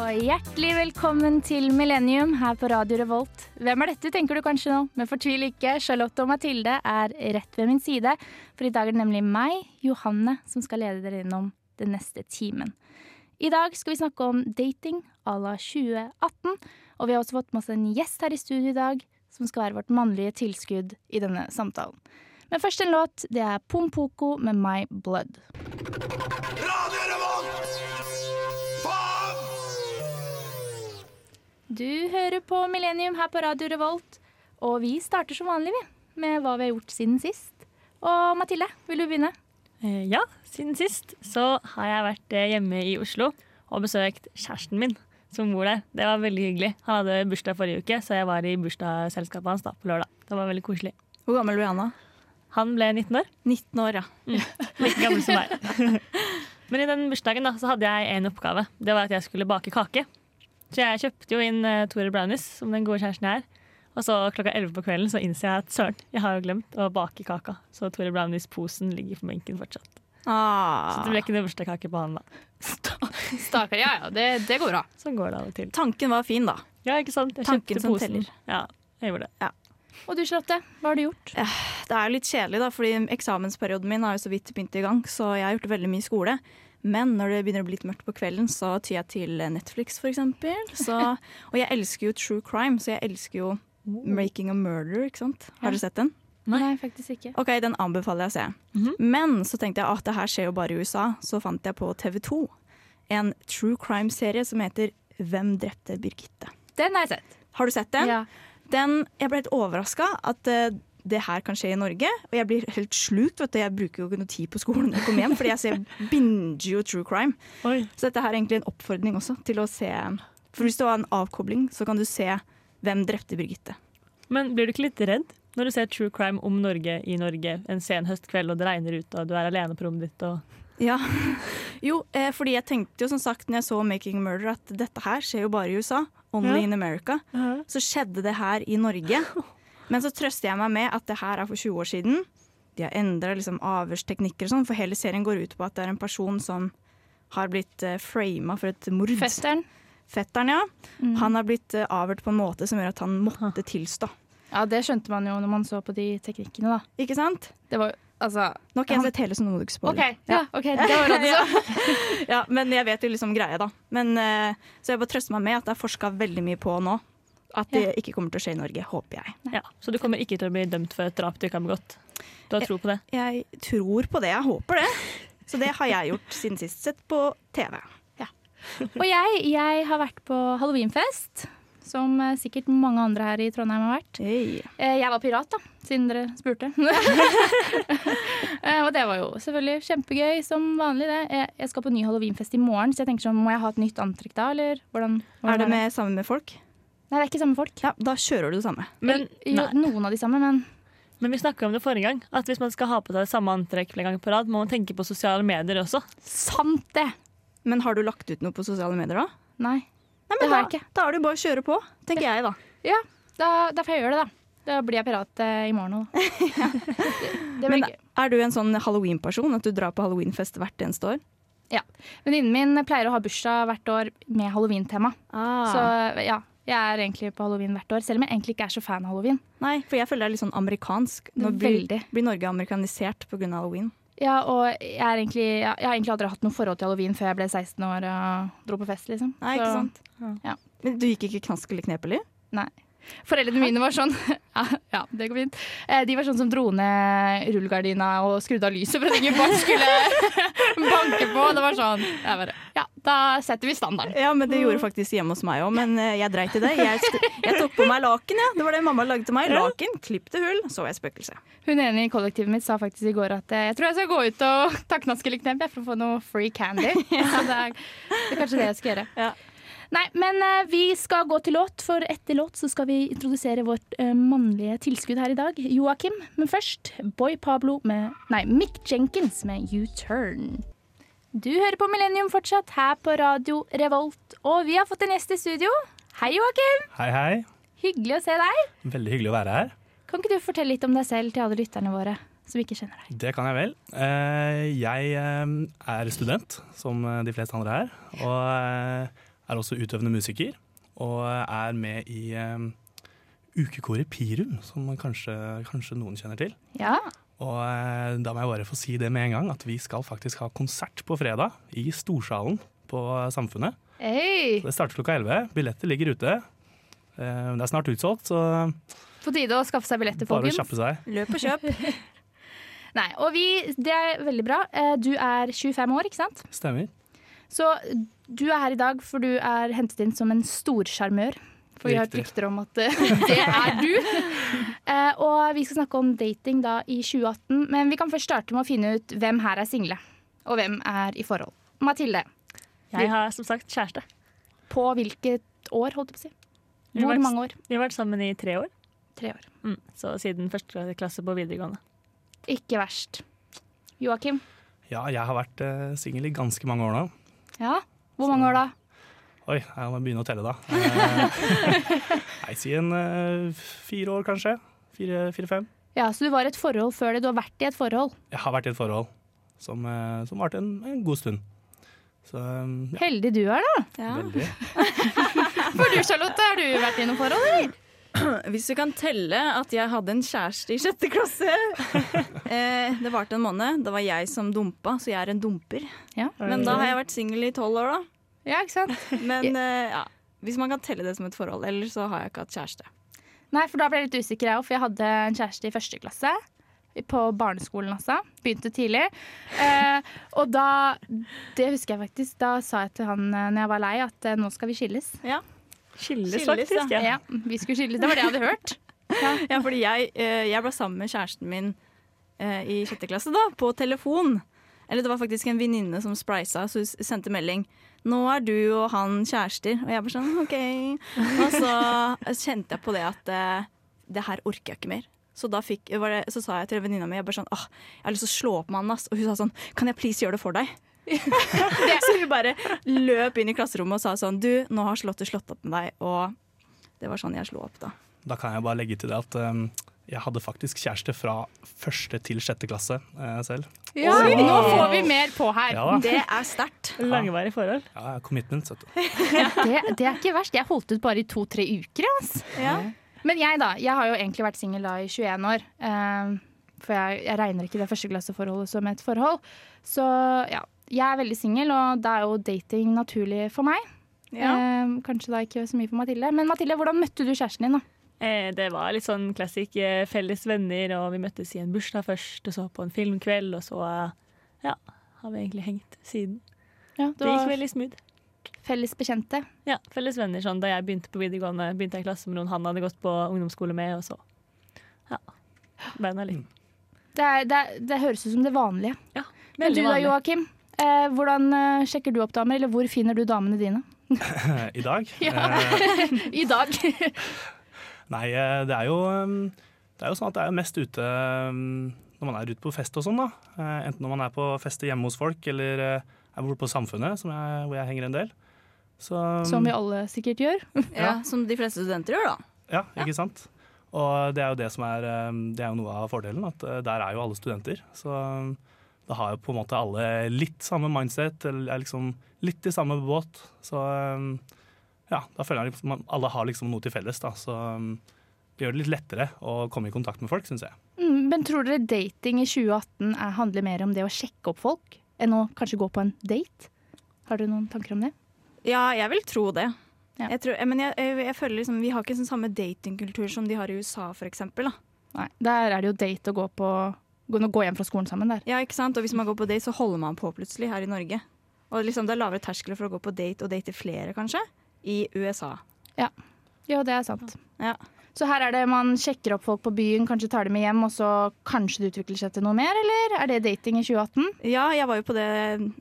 og hjertelig velkommen til Millennium her på Radio Revolt. Hvem er dette, tenker du kanskje nå, men fortvil ikke. Charlotte og Mathilde er rett ved min side, for i dag er det nemlig meg, Johanne, som skal lede dere gjennom den neste timen. I dag skal vi snakke om dating à la 2018, og vi har også fått med oss en gjest her i studio i dag, som skal være vårt mannlige tilskudd i denne samtalen. Men først en låt. Det er Pompoko med My Blood. Radio Revolt! Faen! Du hører på Millennium her på Radio Revolt, og vi starter som vanlig vi, med hva vi har gjort siden sist. Og Mathilde, vil du begynne? Eh, Ja, siden sist så har jeg vært eh, hjemme i Oslo og besøkt kjæresten min som bor der. Det var veldig hyggelig. Han hadde bursdag forrige uke, så jeg var i bursdagsselskapet hans da, på lørdag. Det var veldig koselig. Hvor gammel ble Anna? Han ble 19 år, Mm. 19 år, ja. like gammel som meg. Men i den bursdagen da, så hadde jeg en oppgave. Det var at jeg skulle bake kake. Så jeg kjøpte jo inn eh, Tore Brownies, som den gode kjæresten jeg er. Og så klokka 11 på kvelden så innser jeg at søren, jeg har jo glemt å bake kaka. Så Tore Brownies-posen ligger på benken fortsatt. Så det Ah. ble ikke noe bursdagskake på han da. Stakkar. Ja, ja, det, det går bra. Sånn går det av og til. Tanken var fin, da. Ja, ikke sant? Jeg Tanken kjøpte som posen. teller. Ja, jeg gjorde det. Og du, Charlotte, hva har du gjort? Det er jo litt kjedelig, da, fordi eksamensperioden min har jo så vidt begynt i gang, så jeg har gjort veldig mye skole. Men når det begynner å bli litt mørkt på kvelden, så tyr jeg til Netflix, for eksempel. Så, og jeg elsker jo true crime, så jeg elsker jo Making a Murder, ikke sant. Har du sett den? Nei. faktisk ikke. Ok, den anbefaler jeg å se. Mhm. Men så tenkte jeg at det her skjer jo bare i USA, så fant jeg på TV 2 en true crime-serie som heter Hvem drepte Birgitte? Den har jeg sett. Har du sett den? Ja. den jeg ble helt overraska at eh, det her kan skje i Norge. Og jeg blir helt slukt. vet du. Jeg bruker jo ikke noe tid på skolen når jeg kommer hjem, fordi jeg ser binger jo true crime. Oi. Så dette her er egentlig en oppfordring også til å se For hvis du har en avkobling, så kan du se hvem drepte Birgitte. Men blir du ikke litt redd når du ser true crime om Norge i Norge en sen høstkveld, og det regner ut, og du er alene på rommet ditt, og Ja. Jo, eh, fordi jeg tenkte jo som sagt når jeg så 'Making a Murder' at dette her skjer jo bare i USA. Only Ja. in America. Så skjedde det her i Norge. Men så trøster jeg meg med at det her er for 20 år siden. De har endra liksom avhørsteknikker og sånn, for hele serien går ut på at det er en person som har blitt uh, frama for et mord. Festeren. Mm. Fetteren, ja. Mhm. Han har blitt eh, avhørt på en måte som gjør at han måtte tilstå. Ja, det skjønte man jo når man så på de teknikkene, da. Ikke sant? Det var jo, altså Nå har ikke jeg sett hele, så nå må du ikke OK, spoile. ja, ok, det var det du sa. Ja, men jeg vet jo liksom greia, da. Men, eh, så jeg bare trøster meg med at det er forska veldig mye på nå. At det ikke kommer til å skje i Norge, håper jeg. ja. Så du kommer ikke til å bli dømt for et drap du ikke har begått? Du har tro på det? Jeg tror på det, jeg håper det. Så det har jeg gjort siden sist sett på TV. Og jeg, jeg har vært på halloweenfest, som eh, sikkert mange andre her i Trondheim har vært. Hey. Eh, Jeg var pirat, da, siden dere spurte. Eh, og det var jo selvfølgelig kjempegøy som vanlig, det. Jeg- Jeg skal på ny halloweenfest i morgen, så jeg tenker sånn, må jeg ha et nytt antrekk da, eller hvordan? hvordan Er det med, sammen med folk? Nei, det er ikke samme folk. Ja, da kjører du det samme. Men, eh, jo, nei. noen av de samme, men Men vi snakka om det forrige gang, at hvis man skal ha på seg samme antrekk flere ganger på rad, må man tenke på sosiale medier også. sant det! Men har du lagt ut noe på sosiale medier da? Nei. Nei, Det men har jeg da, ikke. da er det jo bare å kjøre på, tenker jeg da. Ja, da, da får jeg gjøre det, da. Da blir jeg pirat eh, i morgen òg, da. Det, det blir Men gøy. er du en sånn halloween-person, at du drar på halloweenfest hvert eneste år? Ja. Venninnen min pleier å ha bursdag hvert år med halloween-tema. Så, Så ja, jeg er egentlig på halloween hvert år, selv om jeg egentlig ikke er så fan av halloween. nei, for jeg føler det er litt sånn amerikansk. Nå blir, Veldig. blir Norge amerikanisert på grunn av halloween. Ja, og jeg, er egentlig, ja, jeg har egentlig aldri hatt noe forhold til halloween før jeg ble 16 år og dro på fest, liksom. Nei, Så- ikke sant? Ja. Men du gikk ikke knask eller knep, eller? Nei. Foreldrene mine var sånn ja, ja, det går fint. Eh, De var sånn som dro ned rullegardina og skrudde av lyset for at ingen barn skulle banke på. Det var sånn jeg bare, Ja, da setter vi standarden. Ja, men det gjorde faktisk hjemme hos meg òg, men eh, jeg dreit i det. Jeg, sk- jeg tok på meg laken, jeg. Det var det mamma lagde til meg. Laken, klipp til hull, så jeg spøkelse. Hun ene i kollektivet mitt sa faktisk i går at eh, jeg tror jeg skal gå ut og ta knask eller knep jeg, for å få noe free candy. Så det er, det er kanskje det jeg skal gjøre. Ja. Nei, men eh, vi skal gå til låt, for etter låt så skal vi introdusere vårt eh, mannlige tilskudd her i dag, Joakim. Men først Boy Pablo med Nei, Mick Jenkins med U-Turn. Du hører på Millennium fortsatt her på Radio Revolt, og vi har fått en gjest i studio. Hei, Joakim. Hei, hei. Hyggelig å se deg. Veldig hyggelig å være her. Kan ikke du fortelle litt om deg selv til alle lytterne våre som ikke kjenner deg? Det kan jeg vel. Eh, Jeg eh, er student, som de fleste andre her. Og eh, er også utøvende musiker, og er med i eh, ukekoret Pirum, som kanskje, kanskje noen kjenner til. Ja. Og eh, da må jeg bare få si det med en gang, at vi skal faktisk ha konsert på fredag i Storsalen på Samfunnet. Hei! Det starter klokka 11. Billetter ligger ute. Eh, Det er snart utsolgt, så På tide å skaffe seg billetter, bare å folkens. kjappe seg. Løp og kjøp. Nei, og vi, det er veldig bra. Eh, Du er 25 år, ikke sant? Stemmer. Så du er her i dag, for du er hentet inn som en storsjarmør. For vi har hørt Riktig. rykter om at eh, det er du. Eh, og vi skal snakke om dating da i 2018, men vi kan først starte med å finne ut hvem her er single, og hvem er i forhold. Mathilde, Jeg har som sagt kjæreste. på hvilket år, holdt jeg på å si? Vi har Hvor vært- mange år? Vi har vært sammen i tre år. Tre år. Mm. Så siden første klasse på videregående. Ikke verst. Joakim? Ja, jeg har vært eh, singel i ganske mange år nå. Ja? Hvor mange år da? Oi, jeg må begynne å telle da. Eh, Nei, si en eh, fire år kanskje. Fire- Fire-fem. Ja, Så du var i et forhold før det. Du har vært i et forhold. jeg har vært i et forhold som, eh, som varte en, en god stund. Så eh, ja, Heldig du er, da. Ja. veldig. For du, Charlotte, har du vært i noe forhold, eller? Hvis du kan telle at jeg hadde en kjæreste i sjette klasse eh, Det varte en måned. Det var jeg som dumpa, så jeg er en dumper. Ja. Men da har jeg vært singel i tolv år, da. Ja, ikke sant? Men eh, ja. Hvis man kan telle det som et forhold, ellers så har jeg ikke hatt kjæreste. Nei, for da ble jeg litt usikker jeg òg, for jeg hadde en kjæreste i første klasse. På barneskolen, altså. Begynte tidlig. Eh, og da Det husker jeg faktisk. Da sa jeg til han eh, når jeg var lei, at eh, nå skal vi skilles. Skilles, Skilles, faktisk. Ja. Ja, vi skulle skilles. Det var det jeg hadde hørt. Ja, fordi jeg, eh, jeg ble sammen med kjæresten min eh, i sjette klasse, da, på telefon. Eller det var faktisk en venninne som sprisa, så hun s- sendte melding. 'Nå er du og han kjærester.' Og jeg bare sånn, OK. Og så kjente jeg på det at eh, det her orker jeg ikke mer. Så da fikk, var det, så sa jeg til venninna mi jeg bare sånn, åh, jeg har lyst til å slå opp med han. ass. Og hun sa sånn 'Kan jeg please gjøre det for deg?' så hun bare løp inn i klasserommet og sa sånn 'Du, nå har Charlotte slått opp med deg.' Og det var sånn jeg slo opp, da. Da kan jeg bare legge til det at eh, jeg hadde faktisk kjæreste fra første til sjette klasse eh, selv. Ja, nå får vi mer på her. Ja da. Det er sterkt. Langvarig forhold. Ja, commitment, vet du. Det, det er ikke verst. Jeg holdt ut bare i to-tre uker. Altså. Men jeg da, jeg har jo egentlig vært singel da i 21 år. eh, for jeg, jeg regner ikke det førsteklasseforholdet som et forhold. Så ja, jeg er veldig singel, og da er jo dating naturlig for meg. Eh, kanskje da ikke så mye for Mathilde. Men Mathilde, hvordan møtte du kjæresten din? da? Eh, Det var litt sånn klassisk eh, felles venner, og vi møttes i en bursdag først, og så på en filmkveld, og så eh, ja, har vi egentlig hengt siden. Ja, Det gikk veldig smooth. Felles bekjente. Ja, felles venner sånn da jeg begynte på videregående, begynte jeg i klasse med noen han hadde gått på ungdomsskole med, og så ja, beina litt. Det, er, det, er, det høres ut som det vanlige. Ja, Men du veldig da, vanlig. Joakim. Eh, hvordan eh, sjekker du opp damer, eller hvor finner du damene dine? Eh, I dag. eh, I dag. Nei, eh, det er jo um, Det er jo sånn at det er jo mest ute um, når man er ute på fest og sånn, da. Eh, Enten når man er på fest hjemme hos folk, eller eh, er borte på Samfunnet, som jeg, hvor jeg henger en del. Så, um, Som vi alle sikkert gjør. Ja, som de fleste studenter gjør, da. Ja, ikke sant? Og det er jo det som er um, Det er jo noe av fordelen, at uh, der er jo alle studenter. Så um, da har jo på en måte alle litt samme mindset, eller er liksom litt i samme båt. Så um, ja, da føler jeg liksom at alle har liksom noe til felles, da. Så um, det gjør det litt lettere å komme i kontakt med folk, syns jeg. Mm, men tror dere dating i 2018 er, handler mer om det å sjekke opp folk, enn å kanskje gå på en date? Har dere noen tanker om det? Ja, jeg vil tro det. Ja. Jeg tror, men jeg, jeg, jeg føler liksom, vi har ikke sånn samme datingkultur som de har i USA, for eksempel. Da. Nei, der er det jo date å gå på gå, gå hjem fra skolen sammen der. Ja, ikke sant? Og hvis man går på date, så holder man på plutselig her i Norge. Og liksom, det er lavere terskler for å gå på date og date flere, kanskje, i USA. Jo, det er sant. Ja. Så her er det man sjekker opp folk på byen, kanskje tar dem med hjem, og så kanskje det utvikler seg til noe mer, eller er det dating i 2018? Ja, jeg var jo på det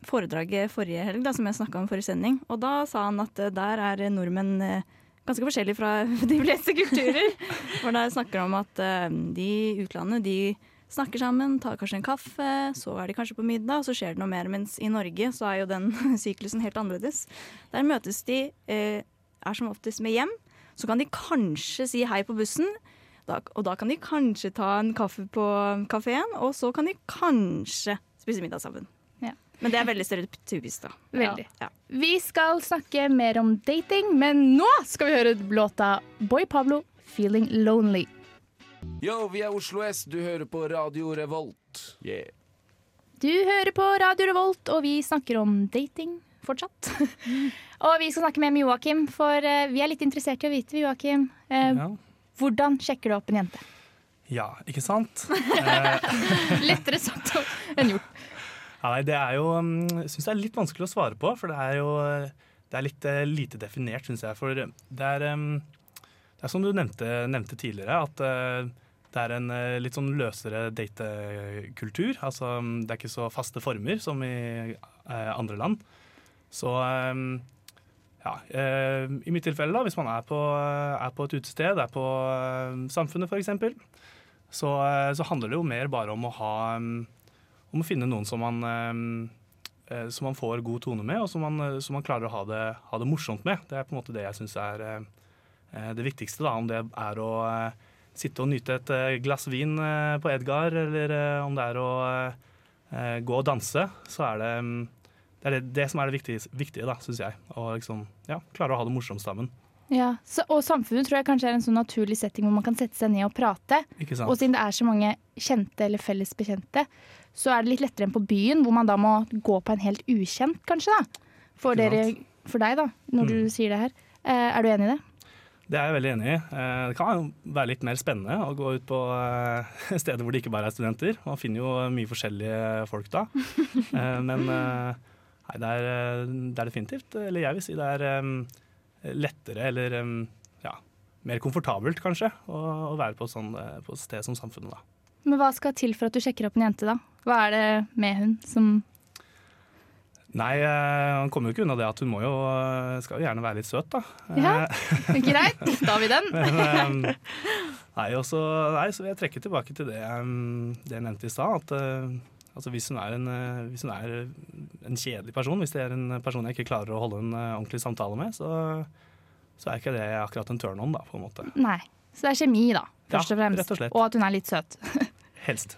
foredraget forrige helg da, som jeg snakka om forrige sending. Og da sa han at eh, der er nordmenn eh, ganske forskjellige fra de fleste kulturer. For der snakker han om at eh, de i utlandet de snakker sammen, tar kanskje en kaffe, så er de kanskje på middag, og så skjer det noe mer. Mens i Norge så er jo den syklusen helt annerledes. Der møtes de, eh, er som oftest med hjem. Så kan de kanskje si hei på bussen, da, og da kan de kanskje ta en kaffe på kafeen, og så kan de kanskje spise middag sammen. Men det er veldig stereotypisk, da. Veldig. Ja. Vi skal snakke mer om dating, men nå skal vi høre låta Boy Pablo, 'Feeling Lonely'. Yo, vi er Oslo S. Du hører på Radio Revolt. Yeah. Du hører på Radio Revolt, og vi snakker om dating fortsatt. og vi skal snakke mer med Joakim, for eh, vi er litt interessert i å vite, Joakim. eh, Ja. Hvordan sjekker du opp en jente? ja, ikke sant? Lettere sagt enn gjort. Ja, nei, det er jo mm, Jeg syns det er litt vanskelig å svare på, for det er jo eh, det er litt eh, lite definert, syns jeg. For eh, det er, em, det er som du nevnte, nevnte tidligere, at eh, det er en eh, litt sånn løsere datekultur. Altså mm, det er ikke så faste former som i eh, andre land. Så em, ja, eh, i mitt tilfelle, da, hvis man er på, eh, er på et utested, er på eh, Samfunnet f.eks., så, eh, så handler det jo mer bare om å ha mm, em, om å finne noen som man, eh, eh, som man får god tone med, og som man, eh, som man klarer å ha det, ha det morsomt med. Det er på en måte det jeg syns er eh, eh, det viktigste, da, om det er å eh, sitte og nyte et eh, glass vin eh, på Edgar, eller eh, om det er å eh, gå og danse, så er det mm, det er det, det som er det viktige, viktige da, syns jeg. Å liksom, ja, klare å ha det morsomt sammen. Ja, så, og samfunnet tror jeg kanskje er en sånn naturlig setting hvor man kan sette seg ned og prate. Ikke sant? Og siden det er så mange kjente eller felles bekjente, så er det litt lettere enn på byen, hvor man da må gå på en helt ukjent, kanskje, da. For, Ikke dere, for deg, da, når du sier det her. Eh, er du enig i det? Det er jeg veldig enig i. Eh, Det kan jo være litt mer spennende å gå ut på eh, steder hvor det ikke bare er studenter. Man finner jo mye forskjellige folk da. Eh, Men eh, nei, det, er, eh, det er definitivt Eller jeg vil si det er em, lettere eller em, ja, mer komfortabelt kanskje å, å være på, et sånn, eh, på et sted som samfunnet da. Men hva skal til for at du sjekker opp en jente, da? Hva er det med hun som Nei, eh, man kommer jo ikke unna det at hun må jo, eh, skal jo gjerne være litt søt da. Eh, Ja. Greit, da har vi den. Men, eh, nei, og så- nei, så vil jeg trekke tilbake til det, eh, det jeg nevnte i stad. At eh, altså, hvis, hun er en, eh, hvis hun er en kjedelig person, hvis det er en person jeg ikke klarer å holde en eh, ordentlig samtale med, så, så er ikke det akkurat en turn on, da, på en måte. Nei. Så det er kjemi, da. Først Ja, og fremst. rett og slett. at hun er litt søt. Helst.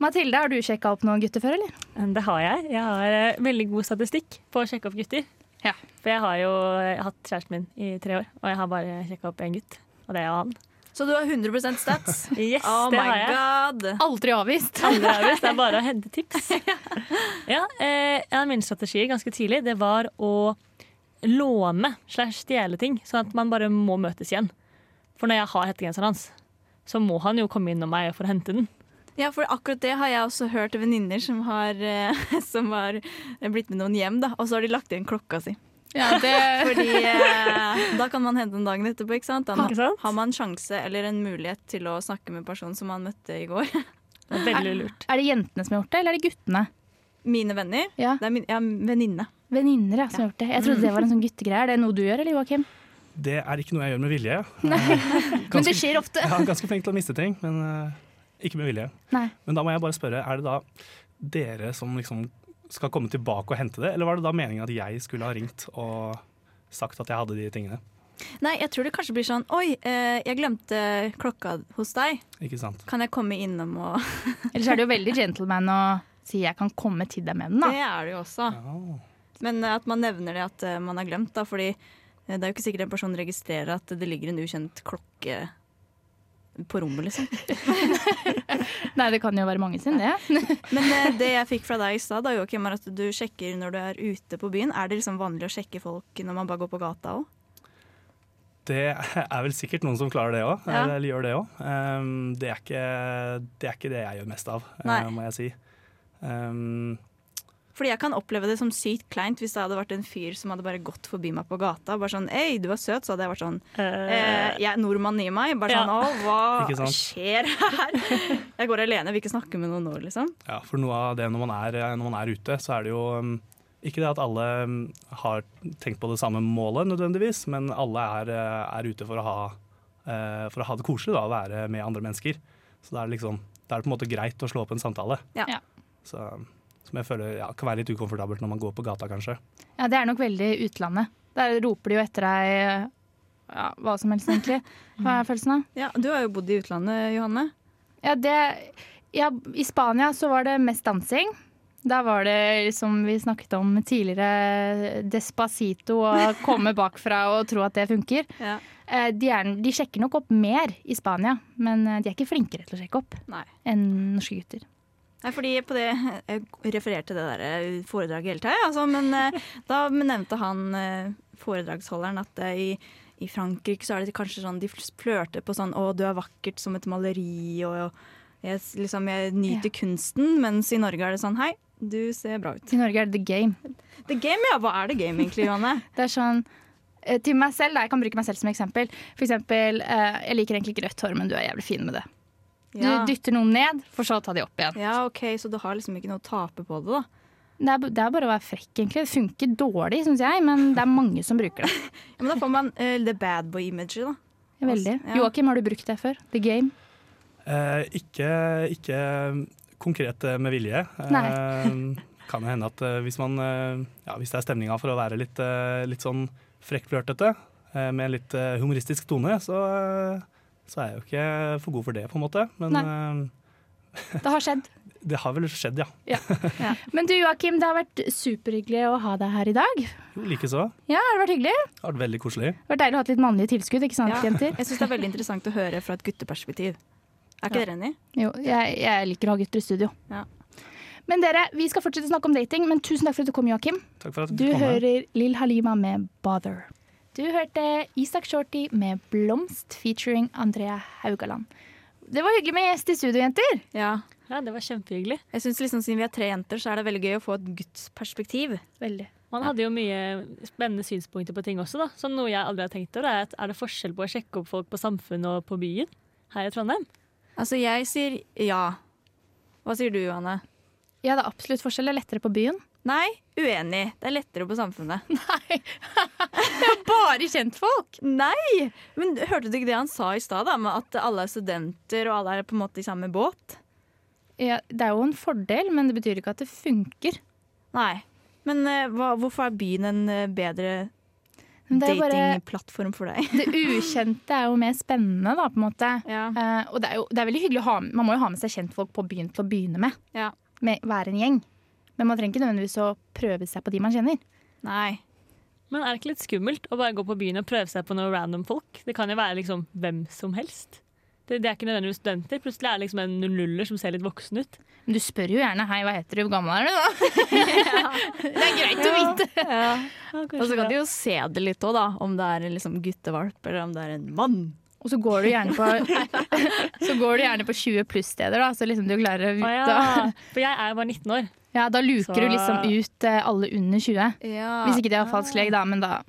Mathilde, har du sjekka opp noen gutter før, eller? Mm, Det har jeg. Jeg har eh, veldig god statistikk på å sjekke opp gutter. Ja. For jeg har jo eh, hatt kjæresten min i tre år, og jeg har bare sjekka opp én gutt. Og det er jo han. Så du har 100 stats? Yes, Oh det my har jeg. god! Aldri avvist. Alle er visst, det er bare å hente tips. Ja, eh, En av mine strategier ganske tidlig det var å låne slash stjele ting, sånn at man bare må møtes igjen. For når jeg har hettegenseren hans, så må han jo komme innom meg for å hente den. Ja, for akkurat det har jeg også hørt av venninner som, har, eh, som har blitt med noen hjem, da. Og så har de lagt igjen klokka si. Ja, det Fordi eh, da kan man hente den dagen etterpå, ikke sant? Da Ikke sant? har man sjanse eller en mulighet til å snakke med personen som man møtte i går. Det er Veldig lurt. Er det jentene som har gjort det, eller er det guttene? Mine venner. Ja. Det er min ja, venninne. Venninner ja, som har gjort det. Jeg trodde det var en sånn guttegreie. Er det noe du gjør, eller Joakim? Det er ikke noe jeg gjør med vilje. Men det skjer ofte. Jeg er ganske flink til å miste ting, men eh, ikke med vilje. Nei. Men da må jeg bare spørre, er det da dere som liksom skal komme tilbake og hente det, eller var det da meningen at jeg skulle ha ringt og sagt at jeg hadde de tingene? Nei, jeg tror det kanskje blir sånn Oi, eh, jeg glemte klokka hos deg. Ikke sant? Kan jeg komme innom og Ellers er det jo veldig gentleman å si 'jeg kan komme til deg med den', da. Det er det jo også. Ja. Men eh, at man nevner det at eh, man har glemt, da. Fordi eh, det er jo ikke sikkert en person registrerer at det ligger en ukjent klokke på rommet, liksom. Nei, det kan jo være mange sin, det. Men eh, det jeg fikk fra deg i stad, da, Joakim, er at du sjekker når du er ute på byen. Er det liksom vanlig å sjekke folk når man bare går på gata òg? Det er vel sikkert noen som klarer det òg, Ja. eller gjør det òg. Um, det, er ikke- det er ikke det jeg gjør mest av, uh, Nei. må jeg si. Um, Fordi jeg kan oppleve det som sykt kleint hvis det hadde vært en fyr som hadde bare gått forbi meg på gata. Bare sånn 'Ei, du er søt', så hadde jeg vært sånn eh, Eh, 'Jeg er nordmann i meg'. Bare Ja. sånn 'Å, Ikke hva sant? skjer her?' Jeg går alene, jeg vil ikke snakke med noen nå, liksom. ja, for noe av det når man er, når man er ute, så er det jo um, ikke det at alle um, har tenkt på det samme målet nødvendigvis, men alle er, uh, er ute for å ha, uh, for å ha det koselig da, å være med andre mennesker. Så da er det liksom, da er det på en måte greit å slå opp en samtale. Ja. Ja. Så, som jeg føler ja, kan være litt ukomfortabelt når man går på gata, kanskje. Ja, det er nok veldig utlandet. Der roper de jo etter deg ja, hva som helst, egentlig. Hva er følelsen av? Ja, du har jo bodd i utlandet, Johanne. Ja, det, ja, I Spania så var det mest dansing. Da var det som vi snakket om tidligere, despacito og komme bakfra og tro at det funker. Ja. Eh, De, er, de sjekker nok opp mer i Spania, men eh, de er ikke flinkere til å sjekke opp Nei. enn norske gutter. Nei, fordi på det, Jeg refererte det der foredraget hele tida, altså, men eh, da nevnte han eh, foredragsholderen at eh, i, i Frankrike så er det kanskje sånn de flørter på sånn 'Å, du er vakkert som et maleri', og, og jeg, s- liksom, 'jeg nyter kunsten', mens i Norge er det sånn 'Hei, du ser bra ut'. I Norge er det the game. The game, ja. Hva er the game egentlig, Johanne? Det er sånn eh, til meg selv, da, Jeg kan bruke meg selv som eksempel. For eksempel eh, jeg liker egentlig ikke rødt hår, men du er jævlig fin med det. Du Ja. dytter noen ned, for så å ta de opp igjen. ja, OK, så du har liksom ikke noe å tape på det, da. Det er, det er bare å være frekk, egentlig. Det funker dårlig, syns jeg, men det er mange som bruker det. Ja, men da får man eh, the bad boy-imaget, da. Veldig. Ja. Joakim, har du brukt det før? The game? Eh, ikke, ikke konkret eh, med vilje. Nei. Eh, kan jo hende at eh, hvis, man, eh, ja, hvis det er stemninga for å være litt, eh, litt sånn frekkflørtete, eh, med en litt eh, humoristisk tone, så, eh, så er jeg jo ikke for god for det, på en måte. Men Det har skjedd. eh, det har vel skjedd, ja. Men du Joakim, det har vært superhyggelig å ha deg her i dag. Jo, likeså. Ja, har det vært hyggelig? Det Det har vært veldig koselig. har vært deilig å ha litt mannlige tilskudd, ikke sant Ja. jenter? Jeg syns det er veldig interessant å høre fra et gutteperspektiv. Er ikke dere enig? Jo, jeg, jeg liker å ha gutter i studio. Ja. Men dere, vi skal fortsette å snakke om dating, men tusen takk for at du kom, Joakim. Takk for at Du du kom. her. hører Lill Halima med 'Bother'. Du hørte Isak Shorty med 'Blomst' featuring Andrea Haugaland. Det var hyggelig med gjest i studio, jenter. Ja. Ja, det var kjempehyggelig. Jeg synes liksom Siden vi er tre jenter, så er det veldig gøy å få et guttperspektiv. Veldig. Man hadde jo mye spennende synspunkter på ting også, da. Så noe jeg aldri har tenkt over, er at er det forskjell på å sjekke opp folk på samfunnet og på byen her i Trondheim? Altså, jeg sier ja. Hva sier du, Johanne? Ja, det er absolutt forskjell. Det er lettere på byen. Nei, uenig. Det er lettere på samfunnet. Bare kjentfolk! Nei! Men hørte du ikke det han sa i stad, da, med at alle er studenter og alle er på en måte i samme båt? Ja, det er jo en fordel, men det betyr ikke at det funker. Nei. Men eh, hva, hvorfor er byen en eh, bedre Men det er jo bare datingplattform for deg? Det ukjente er jo mer spennende, da, på en måte. Ja. Eh, og det er jo det er veldig hyggelig å ha Man må jo ha med seg kjentfolk på byen til å begynne med. Ja. med være en gjeng. Men man trenger ikke nødvendigvis å prøve seg på de man kjenner. Nei. Men er det ikke litt skummelt å bare gå på byen og prøve seg på noen random folk? Det kan jo være liksom hvem som helst. Det, det er ikke nødvendigvis studenter. Plutselig er det liksom en nuller som ser litt voksen ut. Men du spør jo gjerne 'hei, hva heter du, hvor gammel er du', da? det er greit å vite. Og så kan de jo se det litt òg, da. Om det er en liksom, guttevalp eller om det er en mann. Og så går du gjerne på, så går du gjerne på 20 pluss-steder, da, så liksom du klarer å Å vite ja. For jeg er jo bare 19 år. Ja, da luker Så- du liksom ut eh, alle under 20. Ja. Hvis ikke det var falsk leg, da, men da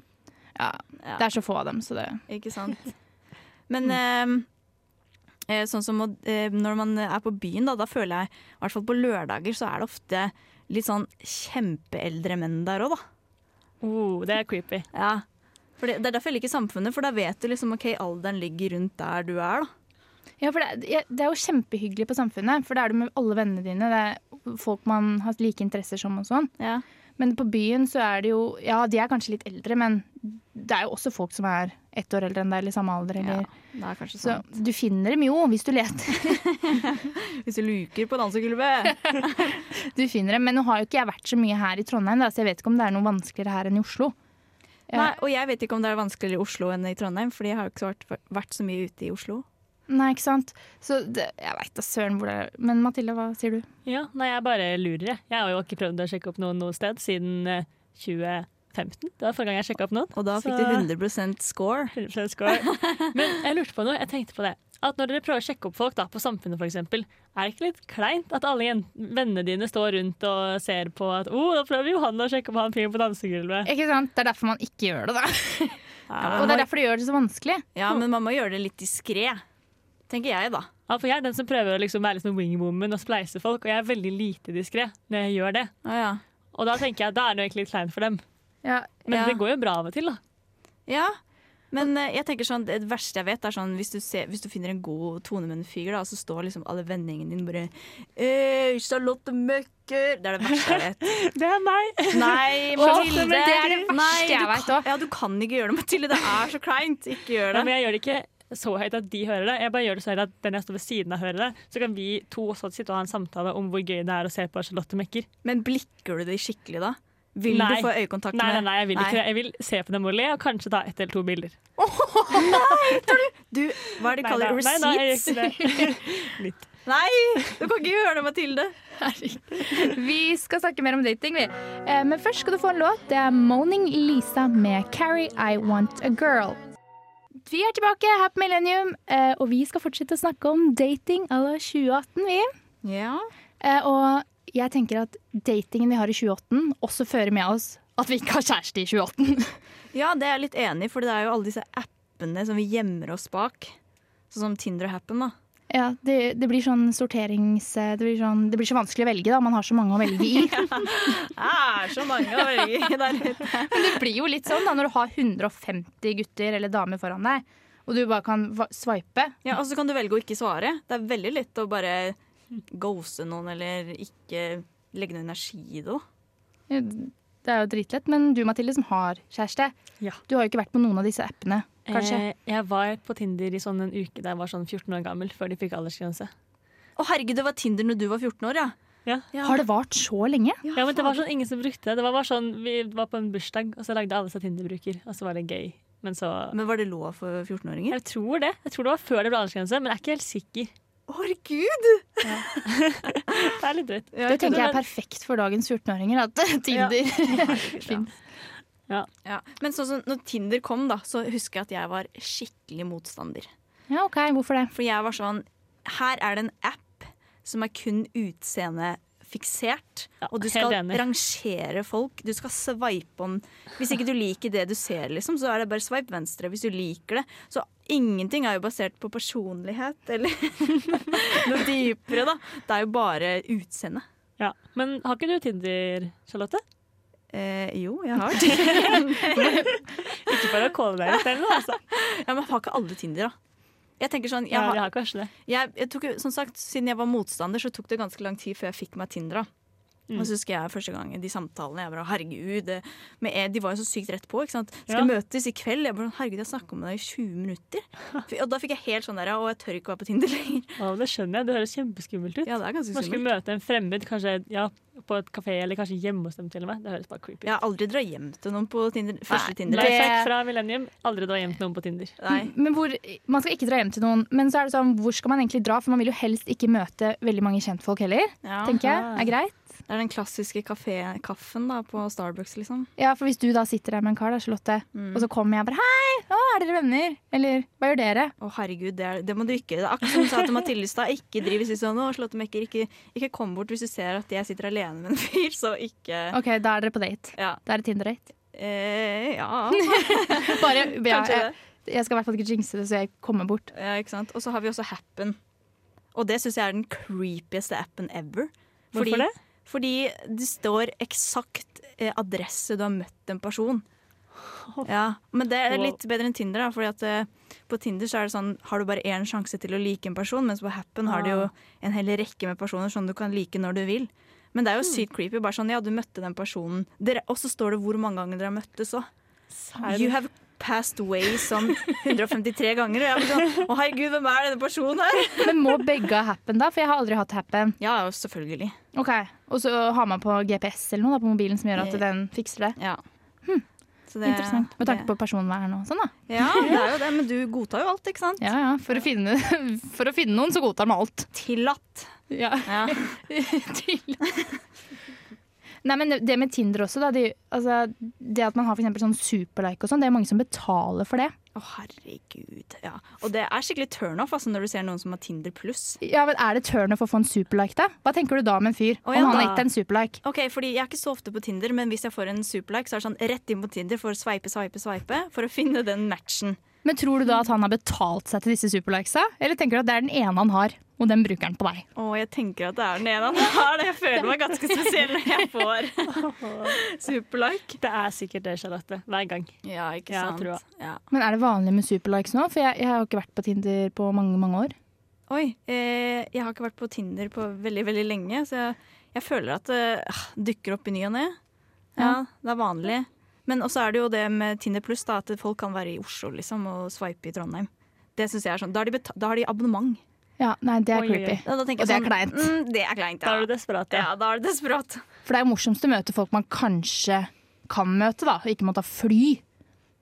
ja, Ja. Det er så få av dem, så det Ikke sant. Men Mm. ehm, eh, eh, sånn som å, eh, når man er på byen, da, da føler jeg i hvert fall på lørdager så er det ofte litt sånn kjempeeldre menn der òg, da. Oh, det er creepy. Ja. For det, det er derfor jeg liker samfunnet, for da vet du liksom OK, alderen ligger rundt der du er, da. Ja, for det, er- det er jo kjempehyggelig på samfunnet, for da er du med alle vennene dine. Det er folk man har like interesser som og sånn. Ja. Men på byen så er det jo Ja, de er kanskje litt eldre, men det er jo også folk som er ett år eldre enn deg, eller samme alder, eller Det er kanskje Så sånn. du finner dem jo, hvis du leter. Hvis du luker på dansegulvet! Du finner dem, Men nå har jo ikke jeg vært så mye her i Trondheim, da, så jeg vet ikke om det er noe vanskeligere her enn i Oslo. Ja. Nei, og jeg vet ikke om det er vanskeligere i Oslo enn i Trondheim, Fordi jeg har jo ikke vært, vært så mye ute i Oslo. Nei, ikke sant? Så det, jeg veit da søren hvor det er Men Mathilde, hva sier du? Ja, nei, jeg bare lurer, jeg. Jeg har jo ikke prøvd å sjekke opp noen noe sted siden eh, 2015. Det var forrige gang jeg sjekka opp noen. Og da fikk Så- du 100 score. 100% score. Men jeg lurte på noe. Jeg tenkte på det. At når dere prøver å sjekke opp folk da, på Samfunnet, for eksempel, er det ikke litt kleint at alle jen- vennene dine står rundt og ser på at oh, da prøver Johanne å sjekke opp han fyren på dansegulvet. Ikke sant? Det er derfor man ikke gjør det, da. Ja, Og det er derfor de gjør det så vanskelig. Ja, men man må gjøre det litt diskré, tenker jeg da. Ja, for jeg er den som prøver å liksom være litt sånn wingwoman og spleise folk, og jeg er veldig lite diskré når jeg gjør det. Ah, ja. Og da tenker jeg da er det jo egentlig litt kleint for dem. Ja, Men Ja. det går jo bra av og til, da. ja. Men eh, jeg tenker sånn, det verste jeg vet er sånn hvis du, ser, hvis du finner en god tone med en fyr, da, og så står liksom alle vennegjengen din bare «Øy, Charlotte Møkker! Det er det verste jeg vet. Det er meg! Nei, men det er det verste Nei, du jeg vet kan- også. Ja, du kan ikke gjøre det, Mathilde. Det er så kleint. Ikke gjør Ja, det. men jeg gjør det ikke så høyt at de hører det. Jeg bare gjør det så høyt at den jeg står ved siden av, hører det. Så kan vi to også sitte og ha en samtale om hvor gøy det er å se på Charlotte mekker. Men blikker du de skikkelig da? Vil Nei. du få øyekontakt Nei, med nei, nei, jeg vil ikke det. Jeg vil se på dem og le, og kanskje ta ett eller to bilder. Du, hva er det de Nei, kaller det? da- nei, da, jeg Receipts? gjør ikke det. Litt. Nei, du kan ikke gjøre det, Mathilde. Vi skal snakke mer om dating, vi. Eh, Men først skal du få en låt. Det er Moaning Lisa med 'Carrie I Want A Girl'. Vi er tilbake her på Millennium, eh, og vi skal fortsette å snakke om dating à la 2018, vi. Ja. Eh, Og jeg tenker at datingen vi har i 2018, også fører med oss at vi ikke har kjæreste i 2018. ja, det er jeg litt enig i, for det er jo alle disse appene som vi gjemmer oss bak. Sånn som Tinder og Happen, da. Ja, det, det blir sånn sorterings... Det blir, sånn, det blir så vanskelig å velge, da. Man har så mange å velge i. Ah, så mange å velge i der ute. Det blir jo litt sånn da når du har 150 gutter eller damer foran deg, og du bare kan va- swipe. Ja, og så kan du velge å ikke svare. Det er veldig lett å bare ghoste noen, eller ikke legge noe energi i det. da. Det er jo dritlett, men du Mathilde som har kjæreste, Ja. du har jo ikke vært på noen av disse appene, kanskje? Eh, jeg var på Tinder i sånn en uke da jeg var sånn 14 år gammel, før de fikk aldersgrense. Å herregud, det var Tinder når du var 14 år, ja. Ja. ja. Har det vart så lenge? Ja, men det var sånn ingen som brukte det. Det var bare sånn, Vi var på en bursdag, og så lagde alle seg Tinder-bruker, og så var det gøy. Men så Men var det lov for 14-åringer? Jeg tror det. Jeg tror det var før det ble aldersgrense, men jeg er ikke helt sikker. Herregud! Det er litt drøyt. Det tenker jeg er perfekt for dagens 14-åringer, at Tinder finnes. Ja. Men sånn som når Tinder kom, da, så husker jeg at jeg var skikkelig motstander. Ja, OK, hvorfor det? For jeg var sånn Her er det en app som er kun utseendefiksert. Ja, og du helt skal enig. rangere folk. Du skal sveipe om Hvis ikke du liker det du ser, liksom, så er det bare sveip venstre hvis du liker det. Så ingenting er jo basert på personlighet eller noe dypere, da. Det er jo bare utseende. Ja. Men har ikke du Tinder, Charlotte? Eh, jo, jeg har det. Ikke for å kåle deg ut eller noe, altså. Ja, men har ikke alle Tinder, da? Jeg tenker sånn, jeg Ja, har, vi har kanskje det. jeg, jeg tok, jo- som sagt, siden jeg var motstander, så tok det ganske lang tid før jeg fikk meg Tinder. da. Og så husker jeg første gang de samtalene. jeg bare, herregud, det- men jeg, De var jo så sykt rett på. ikke sant? Skal Ja. møtes i kveld. Jeg bare, herregud, jeg snakka med deg i 20 minutter. F- Og da fikk jeg helt sånn der, å, jeg tør ikke å være på Tinder lenger. Å, det skjønner jeg. Det høres kjempeskummelt ut. Ja, det er ganske Man skulle skummelt. møte en fremmed, kanskje ja, på et kafé, eller kanskje hjemme hos dem til og med. Det høres bare creepy ut. Jeg har aldri dratt hjem til noen på Tinder, første Tinder. Life det- hack fra Millennium. Aldri dra hjem til noen på Tinder. Nei. Men hvor, Man skal ikke dra hjem til noen, men så er det sånn, hvor skal man egentlig dra? For man vil jo helst ikke møte veldig mange kjentfolk heller, Ja. tenker jeg. Aha. Er greit? Det er den klassiske kafé- kaffen da, på Starbucks, liksom. Ja, for hvis du da sitter der med en kar, da, Charlotte, Mm. og så kommer jeg og bare Hei, å, er dere venner? Eller hva gjør dere? Å, herregud, det, er, det må du ikke. Det er akkurat som hun sa til Mathilde i stad. Ikke driv og si sånn 'Å, Slåttemekker, ikke, ikke kom bort hvis du ser at jeg sitter alene med en fyr', så ikke OK, da er dere på date. Ja. Da er det Tinder-date. Eh, ja. Bare, ja, Kanskje jeg, jeg skal i hvert fall ikke jinxe det, så jeg kommer bort. ja, ikke sant. Og så har vi også Happen. Og det syns jeg er den creepieste appen ever. Hvorfor Fordi- det? Fordi det står eksakt eh, adresse du har møtt en person. Ja, Men det er Wow. litt bedre enn Tinder. da Fordi at eh, På Tinder så er det sånn har du bare én sjanse til å like en person, mens på Happen har du jo Ah. en hel rekke med personer som du kan like når du vil. Men det er jo Mm. sykt creepy. Bare sånn, ja, du møtte den personen, dere, og så står det hvor mange ganger dere har møttes òg. You have passed away som 153 ganger. Og jeg blir sånn, å herregud, hvem er denne personen her? Men må begge ha happen, da? For jeg har aldri hatt happen. Ja, selvfølgelig. Ok, Og så har man på GPS eller noe da, på mobilen som gjør at den fikser det. Ja. Hm. Så det- Interessant. Med tanke det- på personvern og sånn, da. Ja, det er jo det, men du godtar jo alt, ikke sant? Ja, ja. For å finne, for å finne noen, så godtar man alt. Tillatt. Ja. Ja. Til. Nei, men det med Tinder også, da. De, altså, det at man har for eksempel sånn superlike og sånn, det er mange som betaler for det. Å, herregud. Ja. Og det er skikkelig turnoff altså, når du ser noen som har Tinder pluss. Ja, men Er det turnoff å få en superlike, da? Hva tenker du da om en fyr? Å, Om ja, han har da. gitt deg en superlike? Ok, fordi Jeg er ikke så ofte på Tinder, men hvis jeg får en superlike, så er det sånn rett inn på Tinder for å sveipe, sveipe, sveipe for å finne den matchen. Men tror du da at han har betalt seg til disse superlikesa? Eller tenker du at det er den ene han har, og den bruker han på deg? Å, jeg tenker at det er den ene han har. det. Jeg føler meg ganske spesiell når jeg får superlike. Det er sikkert det, Charlotte. Hver gang. Ja, ikke Ja, sant. tror Ja. Men er det vanlig med superlikes nå? For jeg, jeg har jo ikke vært på Tinder på mange, mange år. Oi, eh, jeg har ikke vært på Tinder på veldig, veldig lenge, så jeg, jeg føler at det ah, dukker opp i ny og ne. Ja, det er vanlig. Men også er det jo det med Tinder pluss, da, at folk kan være i Oslo liksom, og sveipe i Trondheim. Det synes jeg er sånn, Da har de, beta da har de abonnement. Ja, nei, det er Oi, oi, oi. creepy. Ja, da tenker Og jeg det er kleint. Mm, det er kleint, Da ja. er du desperat. ja, Ja. da er det desperat. For det er jo morsomst å møte folk man kanskje kan møte, da, og ikke må ta fly.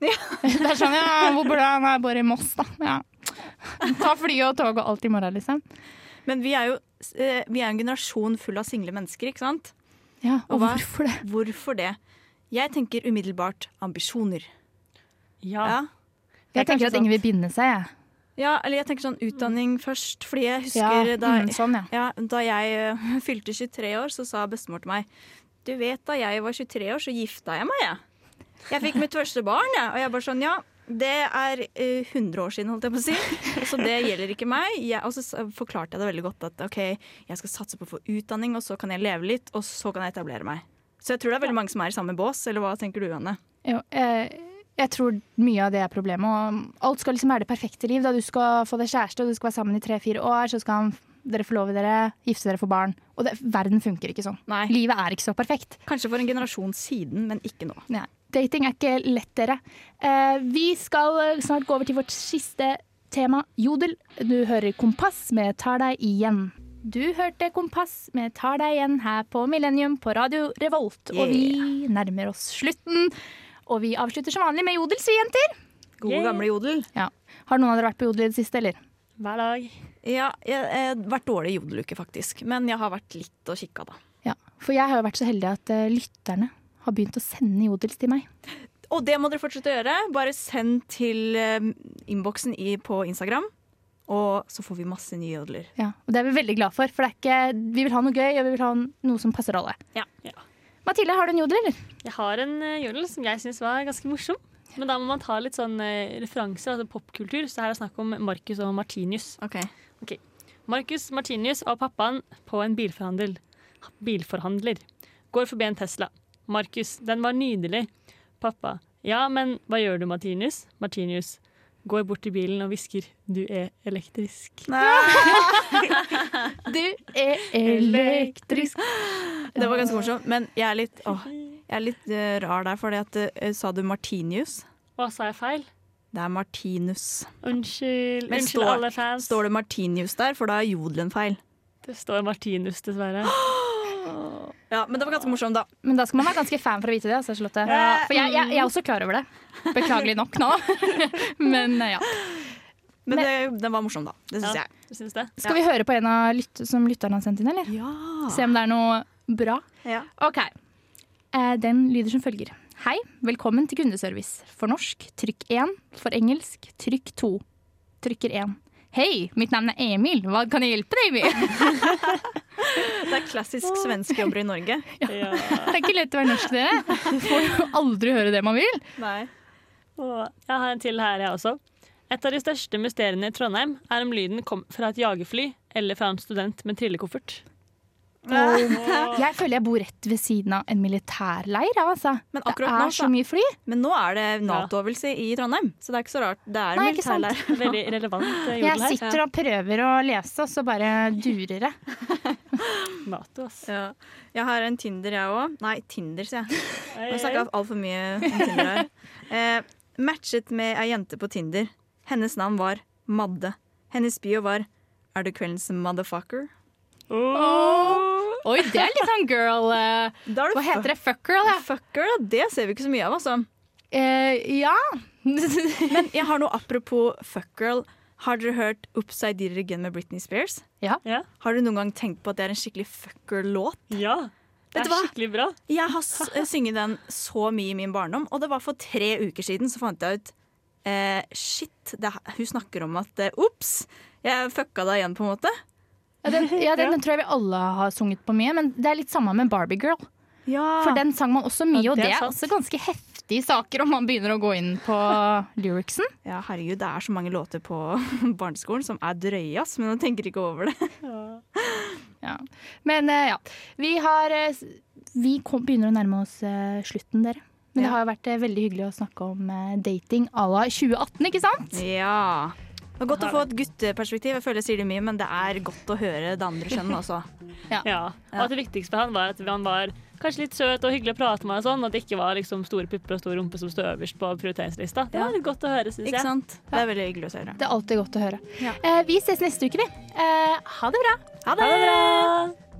det er sånn, ja, hvor bor du? Nei, jeg bor i Moss, da. Ja. Ta fly og tog og alt i morgen, liksom. Men vi er jo eh, vi er en generasjon full av single mennesker, ikke sant? Ja, og Og hva- hvorfor det? Hvorfor det? Jeg tenker umiddelbart ambisjoner. Ja. Ja. Jeg tenker kanskje sånn. at sant. ingen vil binde seg, jeg. ja, eller jeg tenker sånn utdanning først, fordi jeg Ja, husker da mm, sånn, ja. Ja, da jeg eh, fylte 23 år, så sa bestemor til meg Du vet da jeg var 23 år, så gifta jeg meg, jeg. Jeg fikk mitt første barn, jeg. Og jeg bare sånn, ja. Det er eh, 100 år siden, holdt jeg på å si. Så det gjelder ikke meg. Jeg, og så s- forklarte jeg det veldig godt at OK, jeg skal satse på å få utdanning, og så kan jeg leve litt, og så kan jeg etablere meg. Så jeg tror det er veldig mange som er i samme bås, eller hva tenker du, Anne? Jo, jeg, jeg tror mye av det er problemet. Og alt skal liksom være det perfekte liv. Da du skal få deg kjæreste, og du skal være sammen i tre-fire år, så skal han, dere forlove dere, gifte dere, få barn. Og det, verden funker ikke sånn. Nei. Livet er ikke så perfekt. Kanskje for en generasjon siden, men ikke nå. Nei. Dating er ikke lett, dere. Eh, vi skal eh, snart gå over til vårt siste tema, jodel. Du hører Kompass med Tar deg igjen. Du hørte Kompass med Tar deg igjen her på Millennium på Radio Revolt. Og vi nærmer oss slutten. Og vi avslutter som vanlig med jodels, vi jenter. Gode, Yay. gamle jodel. Ja. Har noen av dere vært på jodel i det siste, eller? Hver dag. Ja, jeg jeg har vært dårlig i jodeluke, faktisk. Men jeg har vært litt og kikka, da. Ja. For jeg har jo vært så heldig at eh, lytterne har begynt å sende jodels til meg. Og det må dere fortsette å gjøre. Bare send til eh, innboksen i, på Instagram. Og så får vi masse nye jodler. Ja, og det er vi veldig glad for, for det er ikke, vi vil ha noe gøy, og vi vil ha noe som passer alle. Ja. Ja. Mathilde, har du en jodel, eller? Jeg har en eh, jodel som jeg syns var ganske morsom. Men da må man ta litt sånn eh, referanser, altså popkultur. Så her er det snakk om Marcus og Martinius. Marcus Martinius og pappaen på en bilforhandel. bilforhandler går forbi en Tesla. Marcus, den var nydelig. Pappa, ja, men hva gjør du, Martinius? Martinius går bort til bilen og hvisker, du er elektrisk. Du er elektrisk. Det var ganske morsomt. Men jeg er litt, åh, jeg er litt eh, rar der, for sa du Martinius? Hva sa jeg feil? Det er Martinus. Unnskyld, Men unnskyld står- alle fans. Står det Martinius der, for da er jodelen feil. det står Martinus, dessverre. Ja, Men det var ganske morsomt, da. Men da skal man være ganske fan for å vite det. Altså, Charlotte. For jeg, jeg, jeg er også klar over det. Beklagelig nok nå. Men eh, ja. Men det, den var morsom, da. Det syns Ja. jeg. Du syns det? Skal vi høre på en av lytt som lytterne har sendt inn, eller? Se om det er noe bra. Ja. OK. Eh, Den lyder som følger. Hei, velkommen til kundeservice. For norsk, trykk 1. For engelsk, trykk 2. Trykker 1. Hei, mitt navn er Emil. Hva kan jeg hjelpe deg med? Det er klassisk svenske jobber i Norge. Ja. Det er ikke lett å være norsk, dere. Får jo aldri høre det man vil. Nei. Og jeg har en til her, jeg også. Et av de største mysteriene i Trondheim er om lyden kom fra et jagerfly eller fra en student med trillekoffert. Jeg føler jeg bor rett ved siden av en militærleir. ja, Altså. Men Det akkurat nå er så- så mye fly. Men nå er det Nato-øvelse i Trondheim, så det er ikke så rart. Det er Nei, ikke sant. militærleir. Veldig relevant Jeg eh, jodel her. sitter og prøver å lese, og så bare durer det. Nato, ass. Ja. Jeg har en Tinder, jeg òg. Nei, Tinder, sier jeg. Ei, Jeg har ei, ei. snakka altfor mye om Tinder her. Eh, matchet med ei jente på Tinder. Hennes navn var Madde. Hennes bio var Er du kveldens motherfucker? Oi, det er litt sånn girl eh, Da er Hva heter det? Fuck girl, ja. Fucker, da. Det ser vi ikke så mye av, altså. Eh, ja. Men jeg har noe apropos fuckgirl. Har dere hørt Upside Did It Again med Britney Spears? Ja. Har du noen gang tenkt på at det er en skikkelig fucker-låt? ja. Det Vet du er hva? skikkelig bra. Jeg har s- eh, synget den så mye i min barndom, og det var for tre uker siden så fant jeg ut eh, Shit, det, er- hun snakker om at eh, Ops, jeg fucka deg igjen, på en måte. Ja, den, ja, den, tror jeg vi alle har sunget på mye, men det er litt samme med Barbie Girl. For den sang man også mye, Ja, og Ah. det det er er sant. også ganske heftige saker om man begynner å gå inn på lyricsen. Ja, herregud, det er så mange låter på barneskolen som er drøye, ass, men man tenker ikke over det. Ja. Men eh, ja, vi har eh, s- Vi kom, begynner å nærme oss eh, slutten, dere. Men Ja. det har jo vært eh, veldig hyggelig å snakke om eh, dating à la 2018, ikke sant? Ja. Det er godt å få et gutteperspektiv. Jeg føler jeg sier det mye, men det er godt å høre det andre kjønnet også. Ja. Og at det viktigste for han var at han var Kanskje litt søt og hyggelig å prate med, og sånn, at det ikke var liksom store pupper og stor rumpe som sto øverst på prioriteringslista. Det Ja. var litt godt å høre, syns Ikke jeg. sant? Det er veldig hyggelig å se dere. Det er alltid godt å høre. Ja. Eh, vi ses neste uke, vi. Eh, ha det bra. Ha det bra!